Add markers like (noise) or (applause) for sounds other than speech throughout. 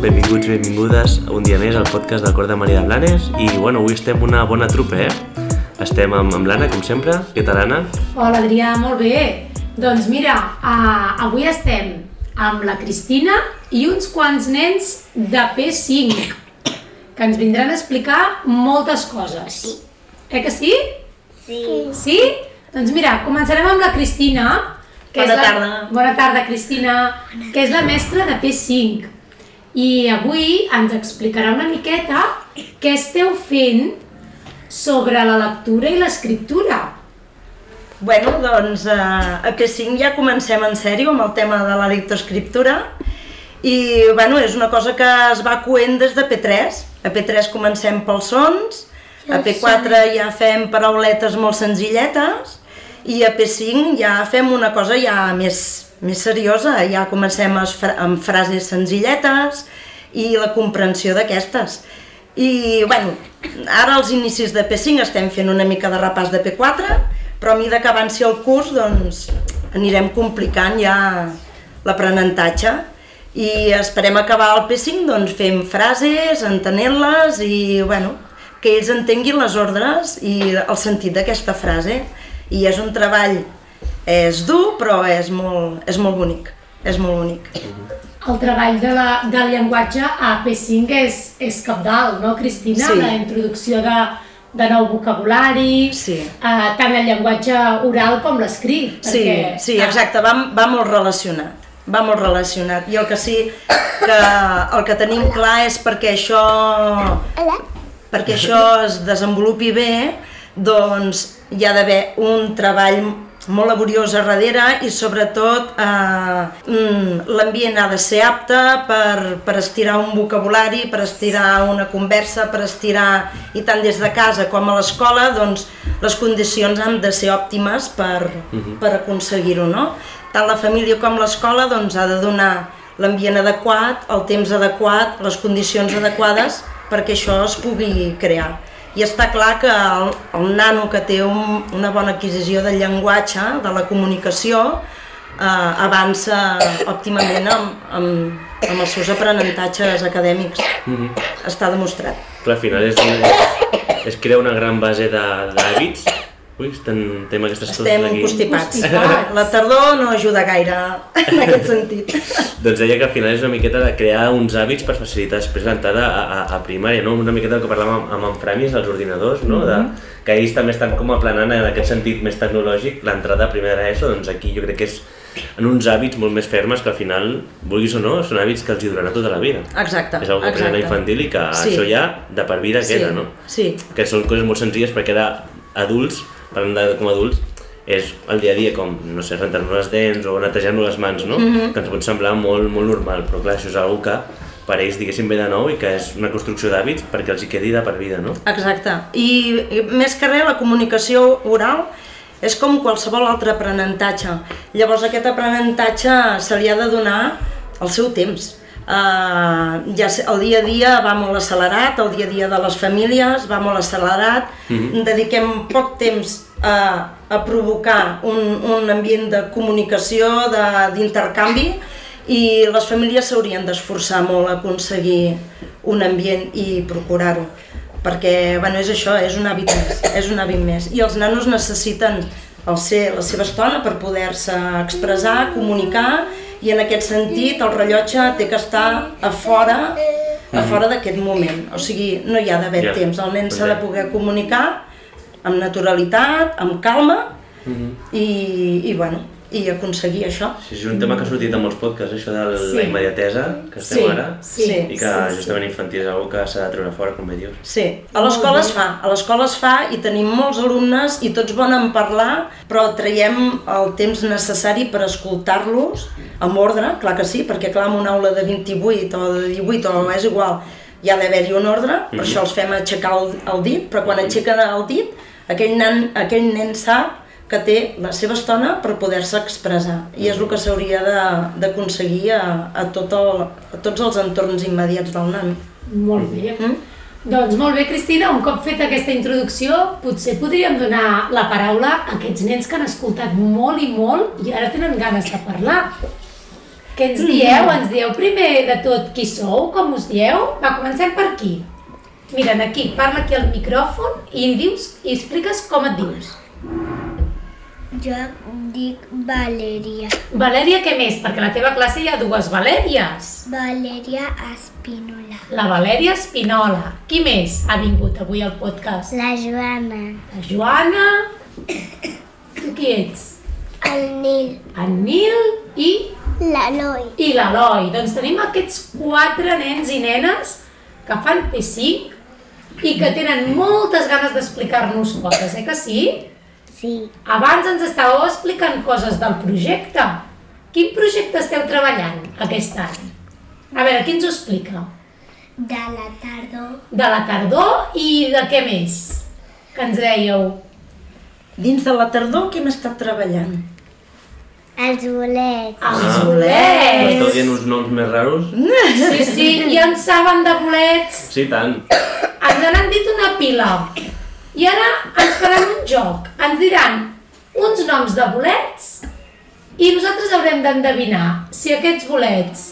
benvinguts i benvingudes un dia més al podcast del Cor de Maria de Blanes i bueno, avui estem una bona trupe, eh? Estem amb, amb l'Anna, com sempre. Què tal, Anna? Hola Adrià, Oh, molt bé. Doncs mira, uh, avui estem amb la Cristina i uns quants nens de P5 que ens vindran a explicar moltes coses. Eh que sí? Sí. Sí? Doncs mira, començarem amb la Cristina. Bona la... tarda. Bona tarda, Cristina, que és la mestra de P5. I avui ens explicarà una miqueta què esteu fent sobre la lectura i l'escriptura. Bueno, doncs eh, a P5 ja comencem en sèrio amb el tema de la lectoescriptura i bueno, és una cosa que es va coent des de P3. A P3 comencem pels sons, a P4 ja fem parauletes molt senzilletes i a P5 ja fem una cosa ja més, més seriosa, ja comencem es- fra- amb frases senzilletes i la comprensió d'aquestes. I, bueno, ara als inicis de P5 estem fent una mica de repàs de P4, però a mesura que avanci el curs, doncs, anirem complicant ja l'aprenentatge i esperem acabar el P5 doncs, fent frases, entenent-les i, bueno, que ells entenguin les ordres i el sentit d'aquesta frase. I és un treball, és dur, però és molt, és molt bonic, és molt bonic. El treball de la, del llenguatge a P5 és, és capdalt, no, Cristina? Sí. La introducció de, de nou vocabulari, Sí. eh, tant el llenguatge oral com l'escrit. Sí, perquè- sí, ah, exacte, va, va molt relacionat, va molt relacionat. I el que sí que el que tenim clar és perquè això perquè això es desenvolupi bé, doncs hi ha d'haver un treball molt laboriós a darrere i sobretot eh, mm, l'ambient ha de ser apte per, per estirar un vocabulari, per estirar una conversa, per estirar, i tant des de casa com a l'escola, doncs les condicions han de ser òptimes per, per aconseguir-ho, no? Tant la família com l'escola doncs, ha de donar l'ambient adequat, el temps adequat, les condicions adequades perquè això es pugui crear. I està clar que el, el nano que té un, una bona adquisició del llenguatge, de la comunicació, eh, avança òptimament amb, amb, amb els seus aprenentatges acadèmics. Mm-hmm. Està demostrat. Clar, al final és, és, és crear una gran base de- d'hàbits. Ui, estem, tenim aquestes Estem coses aquí. constipats. Constipats. La tardor no ajuda gaire en aquest (laughs) sentit. Doncs deia que al final és una miqueta de crear uns hàbits per facilitar després l'entrada a, a, a primària, no? Una miqueta del que parlàvem amb, amb en Framis, els ordinadors, no? De, Mhm. que ells també estan com aplanant en aquest sentit més tecnològic l'entrada a primera ESO, doncs aquí jo crec que és en uns hàbits molt més fermes que al final, vulguis o no, són hàbits que els hi durarà tota la vida. Exacte. és una cosa exacte. infantil i que Sí. això ja de per vida sí, queda, no? Sí, que són coses molt senzilles perquè ara adults, parlant de com a adults, és el dia a dia com, no sé, rentar-nos les dents o netejar-nos les mans, no? Mhm. Que ens pot semblar molt, molt normal, però clar, això és algo que per ells, diguéssim, ve de nou i que és una construcció d'hàbits perquè els hi quedi de per vida, no? Exacte. I, I més que res, la comunicació oral és com qualsevol altre aprenentatge. Llavors aquest aprenentatge se li ha de donar el seu temps. Uh, ja sé, el dia a dia va molt accelerat, el dia a dia de les famílies va molt accelerat, dediquem poc temps a, a provocar un, un ambient de comunicació, de- d'intercanvi, i les famílies s'haurien d'esforçar molt a aconseguir un ambient i procurar-ho perquè bueno, és això, és un hàbit més, és un hàbit més. I els nanos necessiten el ser, la seva estona per poder-se expressar, comunicar, i en aquest sentit el rellotge té que estar a fora, a fora d'aquest moment. O sigui, no hi ha d'haver Ja. temps, el nen s'ha de Entenc. poder comunicar amb naturalitat, amb calma, i, i, bueno, i aconseguir això. Sí, és un tema que ha sortit a molts podcasts, això de la Sí. immediatesa que estem Sí, ara, sí, i que sí, sí. justament infantil és algo que s'ha de treure fora, com bé dius. Sí, a l'escola es fa, a l'escola es fa i tenim molts alumnes i tots volen parlar, però traiem el temps necessari per escoltar-los amb ordre, clar que sí, perquè clar, en una aula de 28 o de 18 o és igual, hi ha d'haver-hi un ordre, per això els fem aixecar el, el dit, però quan aixequen el dit, aquell nen, aquell nen sap que té la seva estona per poder-se expressar i és el que s'hauria de- d'aconseguir a, a, tot el, a tots els entorns immediats del nen. Molt bé. Doncs molt bé, Cristina, un cop feta aquesta introducció, potser podríem donar la paraula a aquests nens que han escoltat molt i molt i ara tenen ganes de parlar. Què Què ens dieu? Ens dieu primer de tot qui sou, com us dieu? Va, comencem per aquí. Mira'n aquí, parla aquí al micròfon i dius i expliques com et dius. Jo em dic Valeria. Valèria, què més? Perquè a la teva classe hi ha dues Valèries. Valeria Espínola. La Valèria Espinola. Qui més ha vingut avui al podcast? La Joana. La Joana. Tu qui ets? El Nil. En Nil i L'Eloi. i l'Eloi. Doncs tenim aquests quatre nens i nenes que fan P5 i que tenen moltes ganes d'explicar-nos coses, eh que sí? Sí. Abans ens estàveu explicant coses del projecte. Quin projecte esteu treballant aquest any? A veure, qui ens ho explica? De la tardor. De la tardor i de què més? Que ens dèieu? Dins de la tardor que hem estat treballant? Els bolets. Els Ah. M'esteu bolets! dient uns noms més raros? Sí, sí, i en saben de bolets! Sí, tant. ens n'han dit una pila i ara ens faran un joc. Ens diran uns noms de bolets i nosaltres haurem d'endevinar si aquests bolets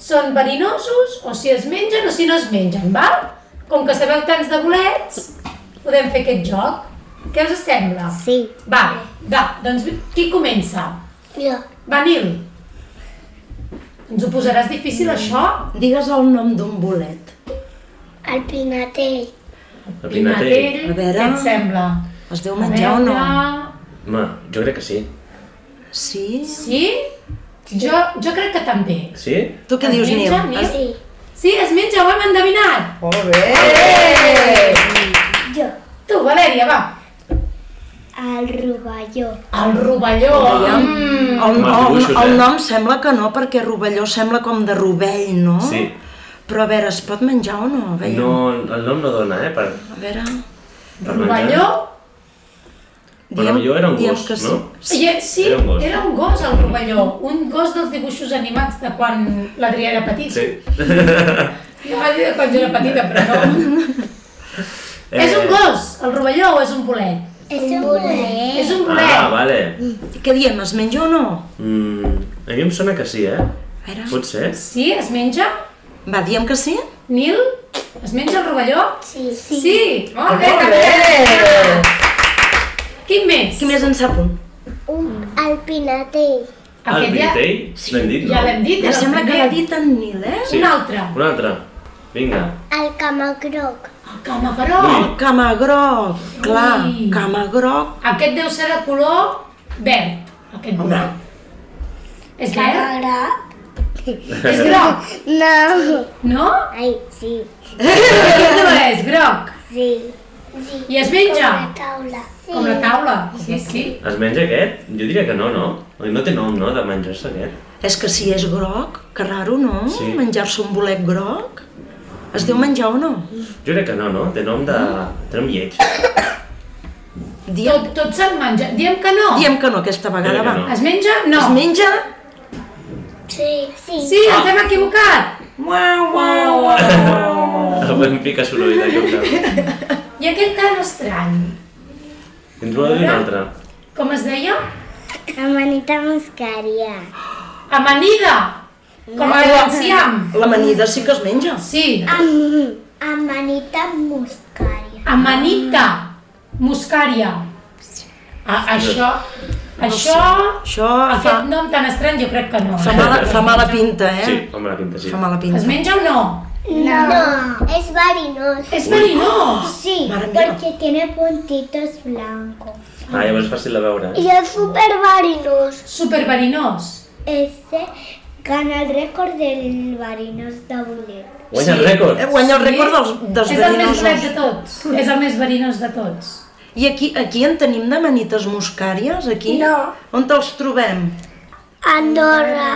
són verinosos o si es mengen o si no es mengen, val? Com que sabeu tants de bolets, podem fer aquest joc. Què us sembla? Sí. Va, va, doncs qui comença? Jo. Va, Nil. Ens ho posaràs difícil, això? Digues el nom d'un bolet. El pinatell. El pinatell. Pinatell, A veure. Què et sembla? Es deu menjar o no? Home, jo crec que sí. Sí? Sí? Jo, jo crec que també. Sí? Tu què Es dius, Nil? menja, Nil? Sí. Sí, es menja, ho hem endevinat. Molt bé! Eh! Jo. Tu, Valèria, va. El rovelló. El rovelló. Mm. El, el, Home, dibuixos, el, eh? nom sembla que no, perquè rovelló sembla com de rovell, no? Sí. Però a veure, es pot menjar o no? Veiem. No, el nom no dona, eh? Per, A veure... per Rovelló. Però rovelló era un diem gos, que sí. no? Sí, sí Era un gos. era un gos el rovelló. Un gos dels dibuixos animats de quan l'Adrià era petit. Sí. Jo vaig dir de quan jo era petita, però no. (laughs) Eh. És un gos, el rovelló, o és un bolet? És un bolet. És un bolet. Ah, vale. Què diem, es menja o no? Mm, a mi em sona que sí, eh? A veure... Pot ser? Sí, es menja? Va, diem que sí? Nil, es menja el rovelló? Sí. Sí, molt bé, també. Quin més? Qui més en sap un? Un, el pinatell. el Aquest ja, pinatell? L'hem dit, no? ja l'hem dit. Ja era el sembla que primer. l'ha dit en Nil, eh? Sí. Un altre. Un altre. Vinga. El camacroc. El camagaró. Ui. El camagroc, clar, Ui. camagroc. Aquest deu ser de color verd. Aquest Home. bolet. És verd? Groc? És (laughs) groc, No. no? Ai, sí. Aquest no és groc. Sí. sí. I es menja? Com la taula. Sí. Com la taula. Sí, sí. Es menja aquest? Jo diria que no, no? No té nom, no, de menjar-se aquest? És que si és groc, que raro, no? Sí. Menjar-se un bolet groc. Es deu menjar o no? Jo crec que no, no? Té nom de... Té nom lleig. Diem, Tot, tot se'n menja. Diem que no. diem que no aquesta Diem vegada, Ah. que va. no. Es menja? No. Es menja? Sí. Sí. Sí, ens hem equivocat. Uau, (laughs) uau, uau. El vam picar soroll d'aquí un cap. I aquest tan estrany. Ens vol dir un altre. Com es deia? Amanita muscaria. Amanida. Com a valenciam. L'amanida sí que es menja. Sí. Am, amanita muscaria. Amanita muscària. A, això, això, Això Ah, fa, aquest nom tan estrany jo crec que no. eh? fa, mala, fa mala pinta, eh? Sí, fa mala pinta, sí. Fa mala Es pinta. menja o no? No. no. Es verinoso. És verinós. Sí, Madre mía. porque tiene puntitos blancos. Ah, llavors és fàcil de veure. eh? Y es súper varinos. Superverinós. Este gana el récord del varinos de Bullet. Guanya el rècord. Eh, guanya el Sí? rècord dels, dels És el més bolet verinosos. de tots. És el més verinós de tots. I aquí, aquí en tenim de manites muscàries, aquí? No. On te'ls trobem? Andorra.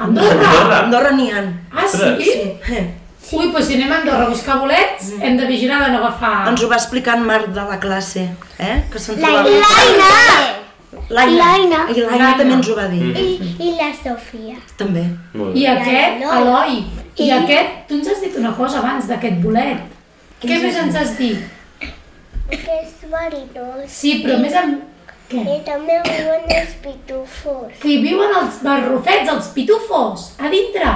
Andorra. Andorra. A Andorra n'hi ha. Ah, sí? Eh. Ui, doncs si anem a Andorra a buscar bolets, hem de vigilar de no agafar... Mm. Ens ho va explicar en Marc de la classe, eh? Que se'n La trobava... Ilaina. I l'Aina. l'Aina L'Aina. també ens ho va dir. Mm. Y, y la Sofía. També. Molt I bé. aquest, I Eloi. I I- aquest, tu ens has dit una cosa abans d'aquest bolet. Què més ens has dit? Que es varinos. Sí, però més en... Què? I també viuen els pitufos. Que hi viuen els barrufets, els pitufos, a dintre.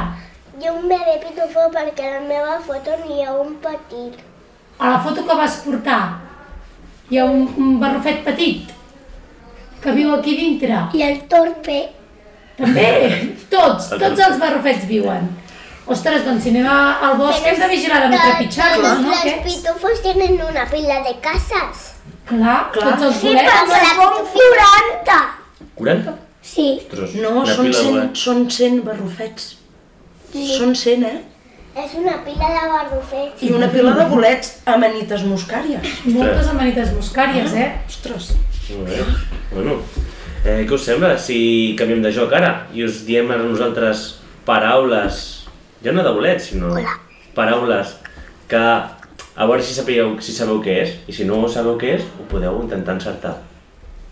I un bebè pitufo perquè a la meva foto n'hi ha un petit. A la foto que vas portar hi ha un, un barrufet petit que viu aquí dintre. I el torpe. També, tots, tots els barrufets viuen. Ostres, doncs si anem a- al bosc hem de vigilar de no trepitjar-los, no? Los Aquests? pitufos tienen una pila de casas. Clar, tots els volem. la pitufina. 40. 40? Sí. Ostres, No, una són pila 100, de- són 100 barrufets. Són 100, eh? És una pila de barrufets. I una pila de bolets amanites muscàries. Moltes amanites muscàries, eh? Ostres. Molt bé. Bueno, eh, què us sembla si canviem de joc ara i us diem ara nosaltres paraules, ja no de bolets, sinó paraules que a veure si sabeu, si sabeu què és i si no sabeu què és, ho podeu intentar encertar.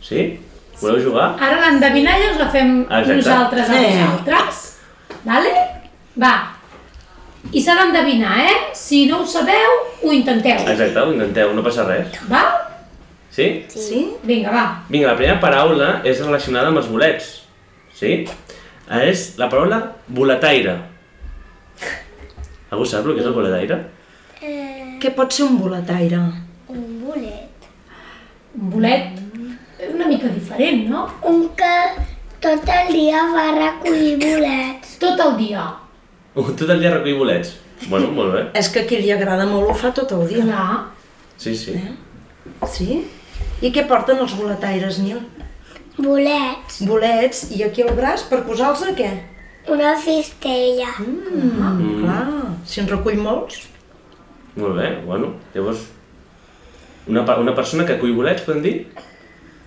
Sí? Voleu jugar? Ara l'endevinalla us la fem Exacte. nosaltres a Sí. vosaltres. Vale? Va. I s'ha d'endevinar, eh? Si no ho sabeu, ho intenteu. Exacte, ho intenteu, no passa res. Va? Sí? Sí? Vinga, va. Vinga, la primera paraula és relacionada amb els bolets. Sí? És la paraula boletaire. Algú sap el que és el boletaire? Eh, Què pot ser un boletaire? un bolet. Un bolet una mica diferent, no? Un que tot el dia va recollir bolets. Tot el dia. Tot el dia recull bolets. (laughs) Bueno, molt bé. És que a qui li agrada molt ho fa tot el dia. Clar. Sí, sí. Eh? Sí? I què porten els boletaires, Nil? Bolets. Bolets i aquí al braç per posar-los a què? Una cistella. Mm. Clar, si en recull molts. Molt bé, bueno, llavors... Una, per- una persona que cull bolets, podem dir?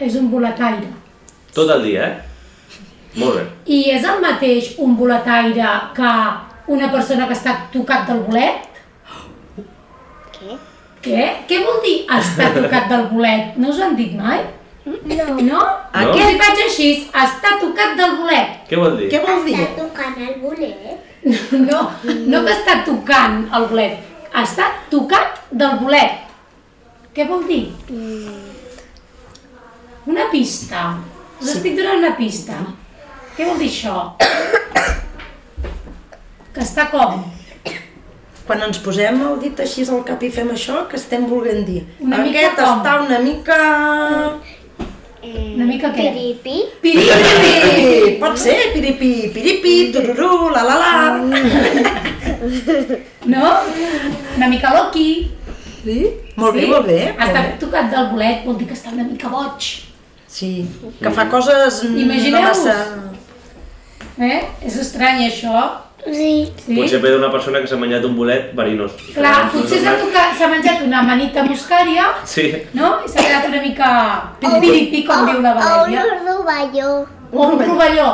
És un boletaire. Tot el dia, eh? Molt bé. I és el mateix un boletaire que una persona que està tocat del bolet? Què? Què? Què vol dir estar tocat del bolet? No us ho han dit mai? No. No? No? Què li faig així? Està tocat del bolet. Què vol dir? Què vol dir? Està tocant el bolet. (laughs) No, no que està tocant el bolet. Està tocat del bolet. Què vol dir? Una pista. Us estic donant una pista. Què vol dir això? Que està com? Quan ens posem el dit així al cap i fem això, que estem volent dir? Una mica Aquest com? està una mica... Una mica què? Piripi. Piripi! Piripi! Pot ser, piripi, piripi, tururú, la la la... No? Una mica loqui. Sí? Molt bé, molt bé. Està tocat del bolet, vol dir que està una mica boig. Sí, que fa coses... no Imagineu-vos. massa- Eh? És estrany, això. Sí. Sí? Potser ve d'una persona que s'ha menjat un bolet verinós. Clar, potser s'ha tocat- s'ha menjat una manita muscària, Sí. no? I s'ha quedat una mica piripi, com diu la O un Valèria. ordovalló. O un rovelló.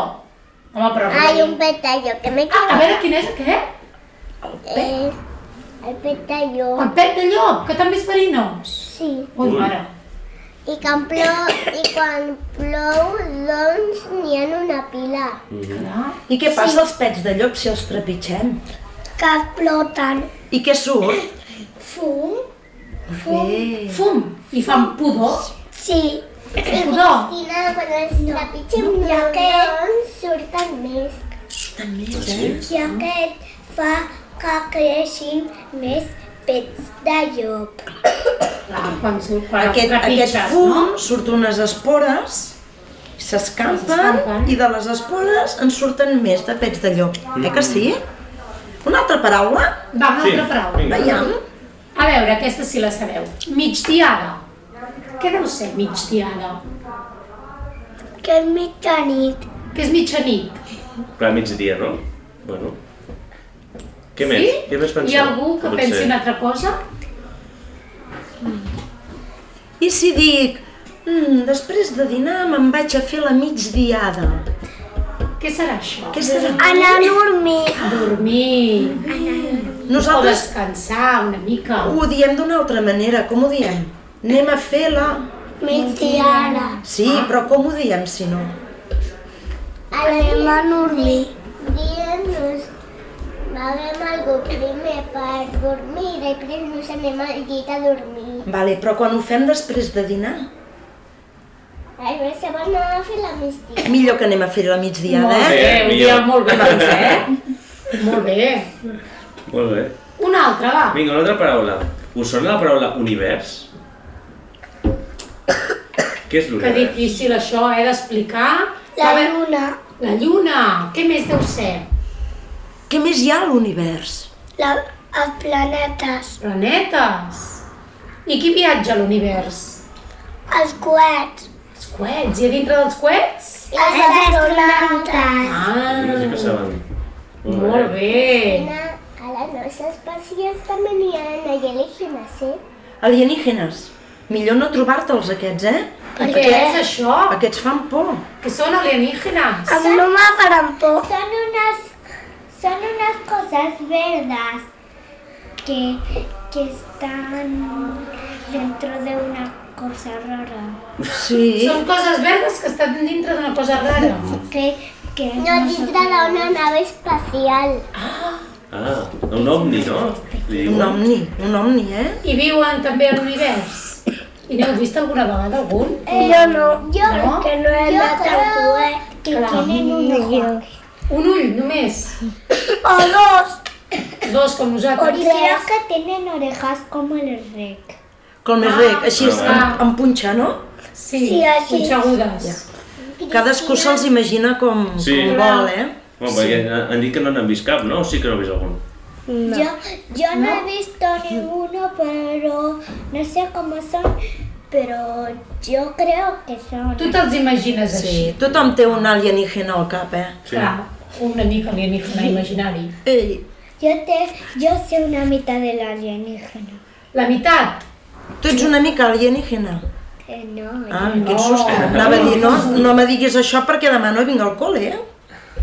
Home, però... Ai, un petalló, que m'he Ah, a quedat. veure, quin és aquest? Eh, el petalló. El pet de llop, que també és verinós. Sí. Ui, Ui. mare. I quan plou, i quan plou doncs n'hi ha una pila. Clar. I què passa als pets de llop si els trepitgem? Que exploten. I què surt? Fum. Bé. Fum! I fan pudor. Sí. I pudor. Cristina, quan es trepitgen no. ja que surten més. I aquest fa que creixin més pets de llop. Clar, quan surt, quan Aquest, els aquest trepitges, fum no? surt unes espores, s'escampen S'escampen. i de les espores en surten més de pets de llop. Eh que sí? Una altra paraula? Va, una Sí, altra paraula. vinga. Veiem. Mm. A veure, aquesta sí la sabeu. Migdiada. Què deu ser migdiada? Que és mitjanit. Que és mitjanit. Clar, migdia, no? Bueno. Què més? Sí? Què més penseu? Hi ha algú que Potser. pensi una altra cosa? I si dic, mm, després de dinar me'n vaig a fer la migdiada. Què serà això? Què serà? Anar a dormir. Dormir. O Nosaltres descansar una mica. ho diem d'una altra manera, com ho diem? Anem a fer la... Migdiada. Sí, però com ho diem si no? Anem a dormir. Diem-nos, paguem algú primer per dormir i després ens anem al llit a dormir. Vale, però quan ho fem després de dinar? Ai, però se vol anar a fer la mística. Millor que anem a fer la migdiada, Molt eh? bé, un dia millor. molt bé, doncs, eh? Molt bé. Molt bé. Una altra, va. Vinga, una altra paraula. Us sona la paraula univers? (coughs) Què és Que l'univers? difícil això, eh, d'explicar. La Va, lluna, La lluna, què més deu ser? Què més hi ha a l'univers? la, els planetes, Planetes. I qui viatja a l'univers? els coets, Els coets. I a dintre dels coets? els astronautes. Ah, No sé què saben. molt bé. A les nostres passions també n'hi ha alienígenes, eh? Alienígenes. Millor no trobar-te'ls aquests, eh? Per què és això? Aquests fan por. Que són alienígenes. A mi no me faran por. Són unes, són unes coses verdes que, que estan dentro de una cosa rara. Sí. Són coses verdes que estan dintre d'una cosa rara. Que, que no, dintre d'una nave espacial. Ah, un ovni, no? Li Un diuen. omni, un omni, eh? I viuen també a l'univers. I n'heu vist alguna vegada algun? Yo no. Eh, Yo No? que no he matado cohetes. Que tienen un ojo. Un ull, només. O dos. Dos com O nosaltres. creo que tienen orejas como el rec. Com més rec, així Ah, ah, bueno. en punxa, no? Sí, Sí, així. punxegudes. Cadascú se'ls imagina com, Sí. com vol, eh? Bueno, perquè han dit que no n'han vist cap, no? O sí que no n'han vist algun? Yo, yo no. he visto ninguno, pero no sé cómo son. Pero yo creo que son. Tu te'ls imagines així. Sí, tothom té un alienígena al cap, eh? Sí. Clar, una mica alienígena imaginari. Ei, Yo, te, yo sé una mitad del alienígena. La meitat. tu ets una mica alienígena. Eh, no. Ah, quin susto. (laughs) Anava a dir, no, no me diguis això perquè demà no vinc al col·le, eh?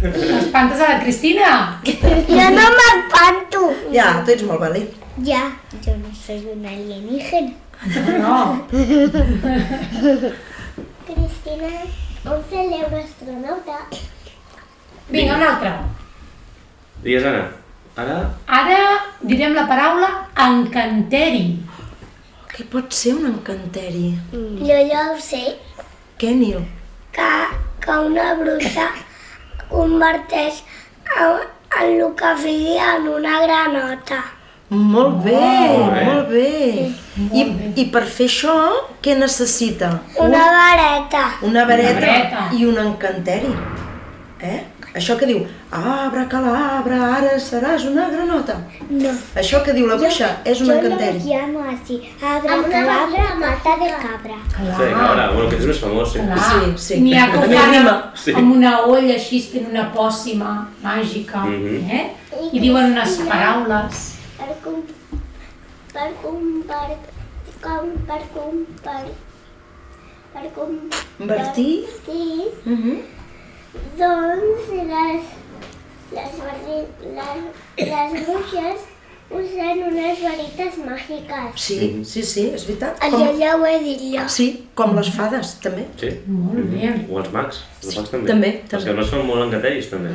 Espantes a la Cristina. Yo no me espanto. Ja, tu ets molt valent. Ya. Yo no soy un alienígena. No. Cristina, un celebro astronauta. Vinga, una altra. Digues, Anna. Ara? Ara direm la paraula encanteri. Què pot ser un encanteri? Yo ya sé Què, Nil? que, que una bruixa converteix en, en el que sigui en una granota. Molt bé, Molt bé. molt bé. I, I per fer això, què necessita? Una vareta. Una vareta, vareta. i un encanteri. Eh? Això que diu, abra calabra, ara seràs una granota. No. Això que diu la bruixa és un encanteri. llamo así, abracadabra, mata de cabra. Clar. Sí, ara, bueno, que és més famós, sí. Clar. Sí, sí. N'hi ha que ho També fan rima. amb, Sí. amb una olla així fent una pòssima màgica, Mhm. eh? I diuen unes paraules. Per com... Per com... Per com... Per com... Per, per com... Invertir? Sí, Mhm. doncs les... Les, barri, les, les bruixes usen unes varites màgiques. Sí, sí, sí, és veritat. Allò ja ho he dit jo. Sí, com les fades, també. Sí. Molt bé. O els mags. Els mags també. també, també. Els que no són molt encanteris, també.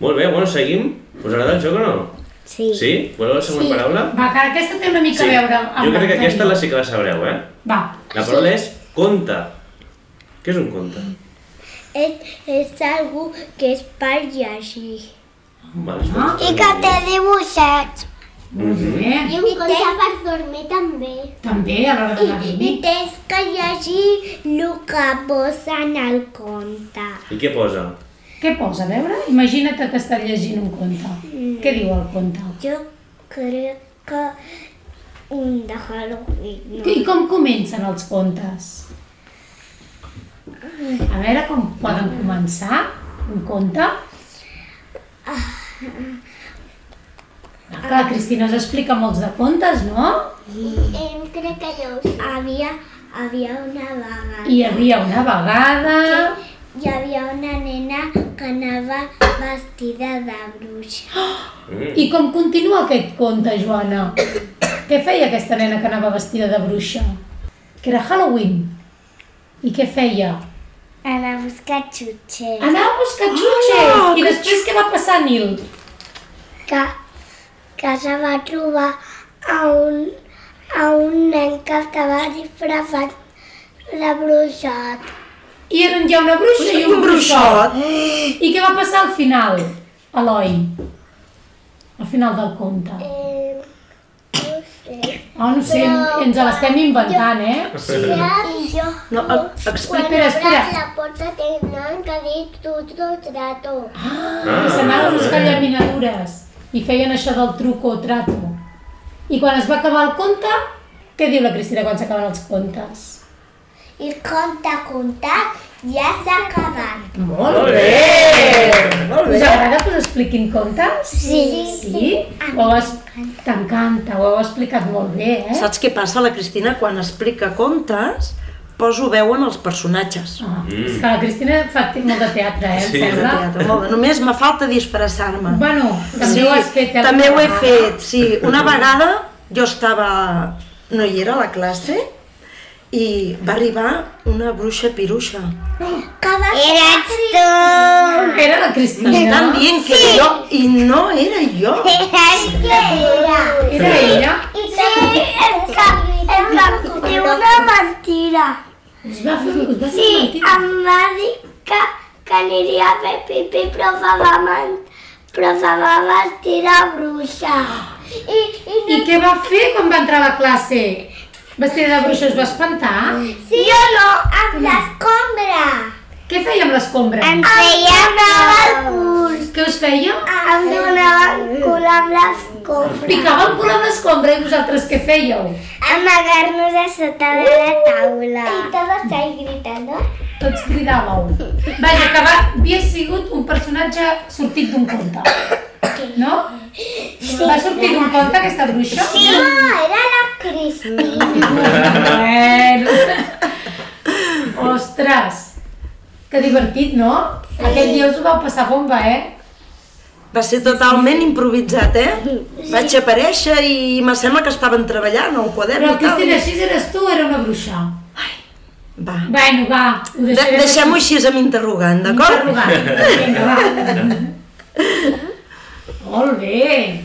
Molt bé, bueno, seguim. Us agrada el joc o no? Sí. Sí? Voleu la següent paraula? Va, que aquesta té una mica a veure Jo amb crec que l'encanteri. aquesta la sí que la sabreu, eh? Va, La paraula és conte. Què és un conte? És, és algú que és per llegir. Vale, ah. I que té dibuixets. molt Mhm. bé. I un conte per dormir també. També a l'hora de la I dormir. tens que llegir el que posa en el conte. I què posa? Què posa? A veure, imagina't que estàs llegint un conte. Què diu el conte? Jo crec que un de Halloween. I com comencen els contes? A veure com poden començar un conte. Que la Cristina us explica molts de contes, no? Em crec que no. Havia, havia una vegada. Hi havia una vegada... Hi havia una nena que anava vestida de bruixa. Mm. I com continua aquest conte, Joana? què feia aquesta nena que anava vestida de bruixa? Que era Halloween. I què feia? Anar a buscar xutxes. Anava a buscar xutxes! Hola, I després què va passar, Nil? que, que se va trobar a un, a un nen que estava disfressat la bruixot. I era on hi ha una bruixa i un bruixot. I què va passar al final, Eloi? Al final del conte. Eh, no sé. Oh, no sé, ens l'estem inventant, eh? I jo, (gasps) No, e- quan explica. Espera, espera. obres la porta tenen que dir tutto trato. Ah, I s'anaven a buscar llaminadures i feien això del truco o trato. I quan es va acabar el conte, què diu la Cristina quan s'acaben els contes? I compte comptat, ja s'ha acabat. Molt bé! Molt bé. Us agrada que us expliquin contes? Sí. Sí? Ho has... T'encanta, ho heu explicat molt bé, eh? Saps què passa? La Cristina, quan explica contes, poso veu en els personatges. Ah, és que la Cristina fa te- molt de teatre, eh? Sí. Sí. De teatre, molt bé. Només me falta disfressar-me. Bueno, també ho has fet. eh, també ho he alguna vegada. fet, sí. Una vegada jo estava... no hi era a la classe i va arribar una bruixa piruixa. Que va Eres tu! Era la Cristina. Estan dient que era jo i no era jo. Eres tu! Era ella. I sí, és que em va dir una mentira. Us va fer, us va fer Sí, mentida. em va dir que, que aniria a fer pipí, però se va, men però se va vestir de bruixa. I, i, I què va fer quan va entrar a la classe? Vestida de bruixa us va espantar? sí. jo no, amb l'escombra. Què feia amb l'escombra? feia donava el cul. Què us feia? Em donava el cul amb l'escombra. Picava el cul amb l'escombra i vosaltres què fèieu? Amagar-nos a sota de la taula. I tot estic gritant, no? Tots cridàveu. Vaja, que va, havia sigut un personatge sortit d'un conte. No? Va sortir d'un conte aquesta bruixa? No, era la Cristina. Bueno. Ostres. Que divertit, no? Aquell dia us ho vau passar bomba, eh? Va ser totalment improvisat, eh? Vaig aparèixer i me sembla que estaven treballant al quadern Però i tal. Cristina, així eres tu, era una bruixa. Va, Bueno, va, ho De deixarem. Deixem-ho així amb interrogant, d'acord? Interrogant. Vinga, va. Molt bé.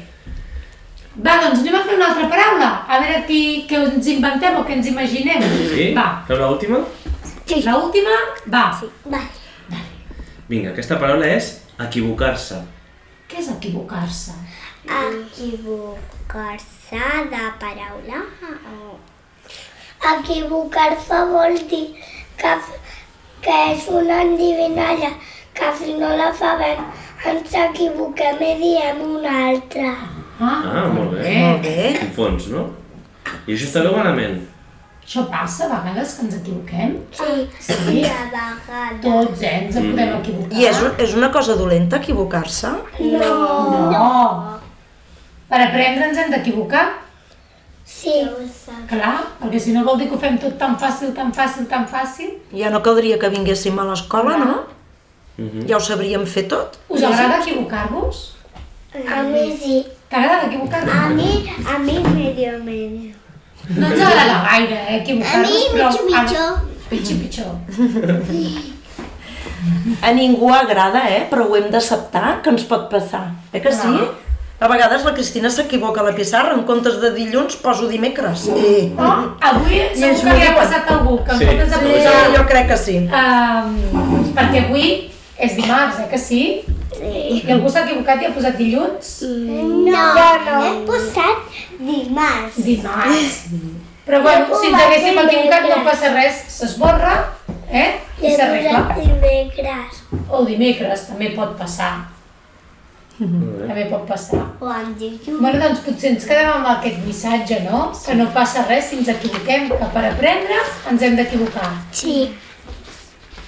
Va, doncs anem a fer una altra paraula. A veure qui, què ens inventem o què ens imaginem. Sí? Va, Fem l'última? la última, va. Va. Vinga, aquesta paraula és equivocar-se. Què és equivocar-se? Equivocar-se de paraula? O... Equivocar-se vol dir que, que és una endivinalla, que si no la sabem ens equivoquem i diem una altra. Ah, molt bé. Molt bé. Confons, no? I això està bé o malament? Això passa a vegades que ens equivoquem. Sí, Sí. de vegades. Tots, eh, Mm. ens en podem equivocar. I és, és una cosa dolenta equivocar-se? No. no. Per aprendre ens hem d'equivocar, Sí. clar, perquè si no vol dir que ho fem tot tan fàcil, tan fàcil, tan fàcil. Ja no caldria que vinguéssim a l'escola, no? Mhm. Ja ho sabríem fer tot. Us agrada equivocar-vos? A mi sí. T'agrada equivocar-te? A mi, a mi medio medio. No ens agrada gaire, eh, equivocar-nos, però... mitjo, mitjo. Pitxo, pitjor. A ningú agrada, eh? Però ho hem d'acceptar, que ens pot passar. Eh que sí? Clar. A vegades la Cristina s'equivoca a la pissarra, en comptes de dilluns poso dimecres. Eh. Oh, avui segur ens que li ha mouen. passat a algú, que en Sí. comptes de Sí, posar... jo crec que sí. Ehm, perquè avui és dimarts, eh, que sí? Sí. I algú s'ha equivocat i ha posat dilluns? No, no. He posat dimarts. Dimarts. Però bueno, si ens haguéssim equivocat no passa res, s'esborra, eh? I I s'arregla. dimecres. O dimecres, també pot passar. També pot passar. O en dilluns. Bueno, doncs potser ens quedem amb aquest missatge, no? Que no passa res si ens equivoquem, que per aprendre ens hem d'equivocar. Sí,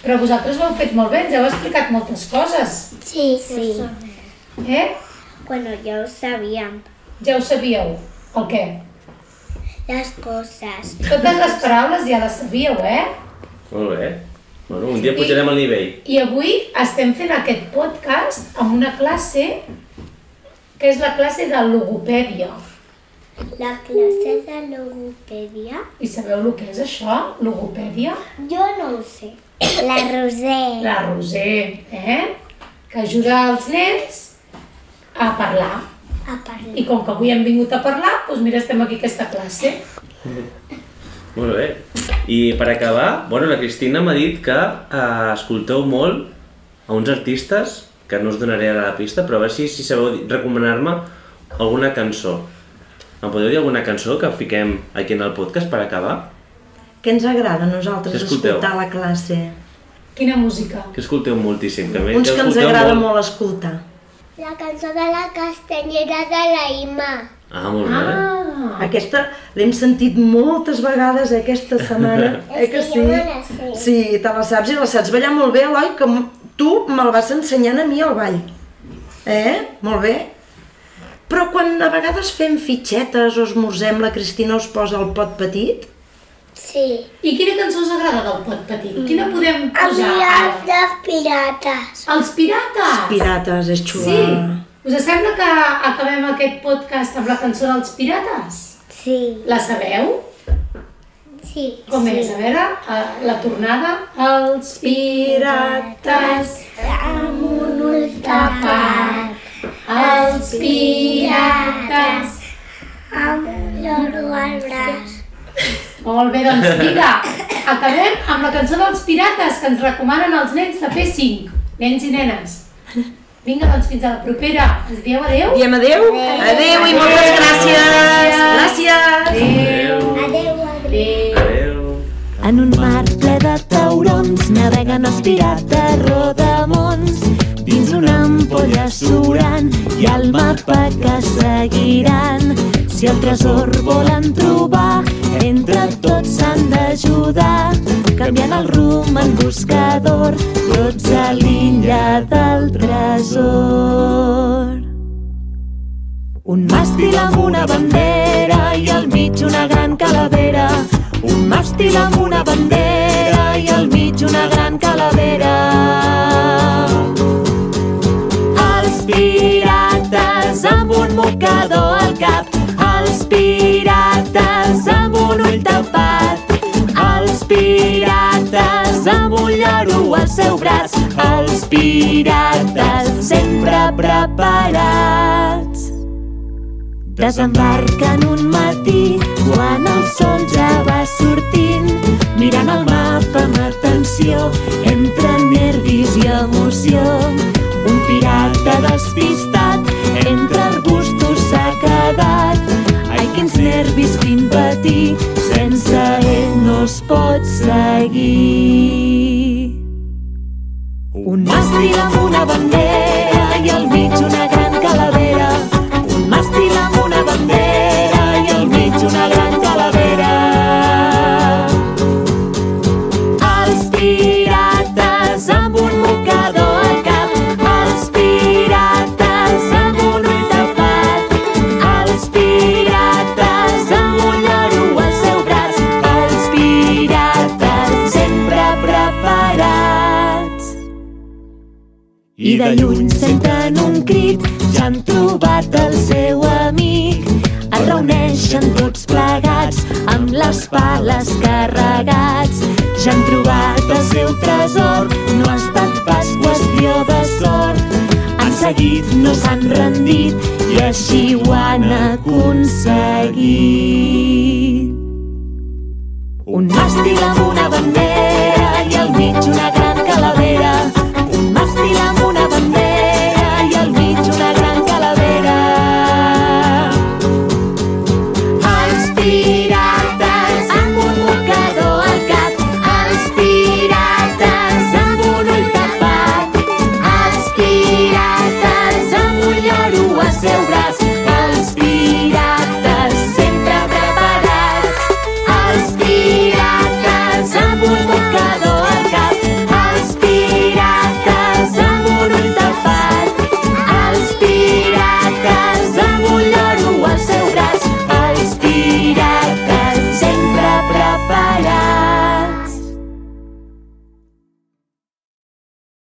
Però vosaltres ho heu fet molt bé, ens heu explicat moltes coses, sí, sí. eh? Bueno, ja ho sabíem. Ja ho sabíeu. El què? Les coses. Totes les paraules ja les sabíeu, eh? Molt bé. Bueno, un dia pujarem al nivell. I avui estem fent aquest podcast amb una classe que és la classe de logopèdia. La classe de logopèdia? I sabeu el que és això, logopèdia? Jo no ho sé. La Roser. La Roser, eh? Que ajuda els nens a parlar. A parlar. I com que avui hem vingut a parlar, doncs mira, estem aquí a aquesta classe. Molt bé. I per acabar, bueno, la Cristina m'ha dit que eh, escolteu molt a uns artistes, que no us donaré ara la pista, però a veure si, si sabeu dir- recomanar-me alguna cançó. Em podeu dir alguna cançó que fiquem aquí en el podcast per acabar? Què ens agrada a nosaltres Què escolteu? escoltar a la classe? Quina música? Que escolteu moltíssim. També Uns que ens escolteu agrada molt escoltar. La cançó de la castanyera de la Ima. Ah, molt bé. Ah, Aquesta l'hem sentit moltes vegades aquesta setmana. eh És que que sí? jo me la sé. Sí, te la saps i la saps ballar molt bé, Eloi, que m- tu me la vas ensenyant a mi al ball. Eh? Molt bé. Però quan a vegades fem fitxetes o esmorzem, la Cristina us posa el pot petit, Sí. i quina cançó us agrada del pot petit? Quina podem posar? ara? Enviats de pirates. Els pirates! pirates, és xula. Sí! Us sembla que acabem aquest podcast amb la cançó dels pirates? Sí. La sabeu? Sí. Com sí. és? A veure, eh, la tornada. Els pirates Amb un ull tapat, Els pirates. amb l'oro al braç. Molt bé, doncs vinga, acabem amb la cançó dels pirates que ens recomanen els nens de P5, nens i nenes. Vinga, doncs fins a la propera. Ens dieu adeu? Diem adeu? Adeu i moltes gràcies! Gràcies! Adéu. Adéu, adéu. Adéu. Adéu. En un mar ple de taurons naveguen els pirates rodamons dins una ampolla surant i el mapa que seguiran. Si el tresor volen trobar, entre tots s'han d'ajudar. Canviant el rumb en buscador, tots a l'illa del tresor. Un màstil amb una bandera i al mig una gran calavera. Un màstil amb una bandera i al mig una gran calavera. Els pirates amb un mocador al cap. Els pirates amb un ull tapat. Els pirates amb un lloro al seu braç. Els pirates sempre preparats. Desembarquen un matí quan el sol ja va sortint. Mirant el mapa amb atenció, entre nervis i emoció. Un pirata despistat, entre arbustos s'ha quedat. Ai, quins nervis, quin patir, sense ell no es pot seguir. Un màstil amb una bandera i al mig una gran calavera. Un màstil amb una bandera i al mig una gran calavera. Els pirates amb un mocador al cap. Els pirates amb un ull tapat. Els pirates amb un lloro al seu braç. Els pirates sempre preparats. I de lluny senten un crit, ja han trobat el seu amic. Es reuneixen tots plegats, amb les pales carregats. Ja han trobat el seu tresor, no ha estat pas qüestió de sort. Han seguit, no s'han rendit, i així ho han aconseguit. Un màstil amb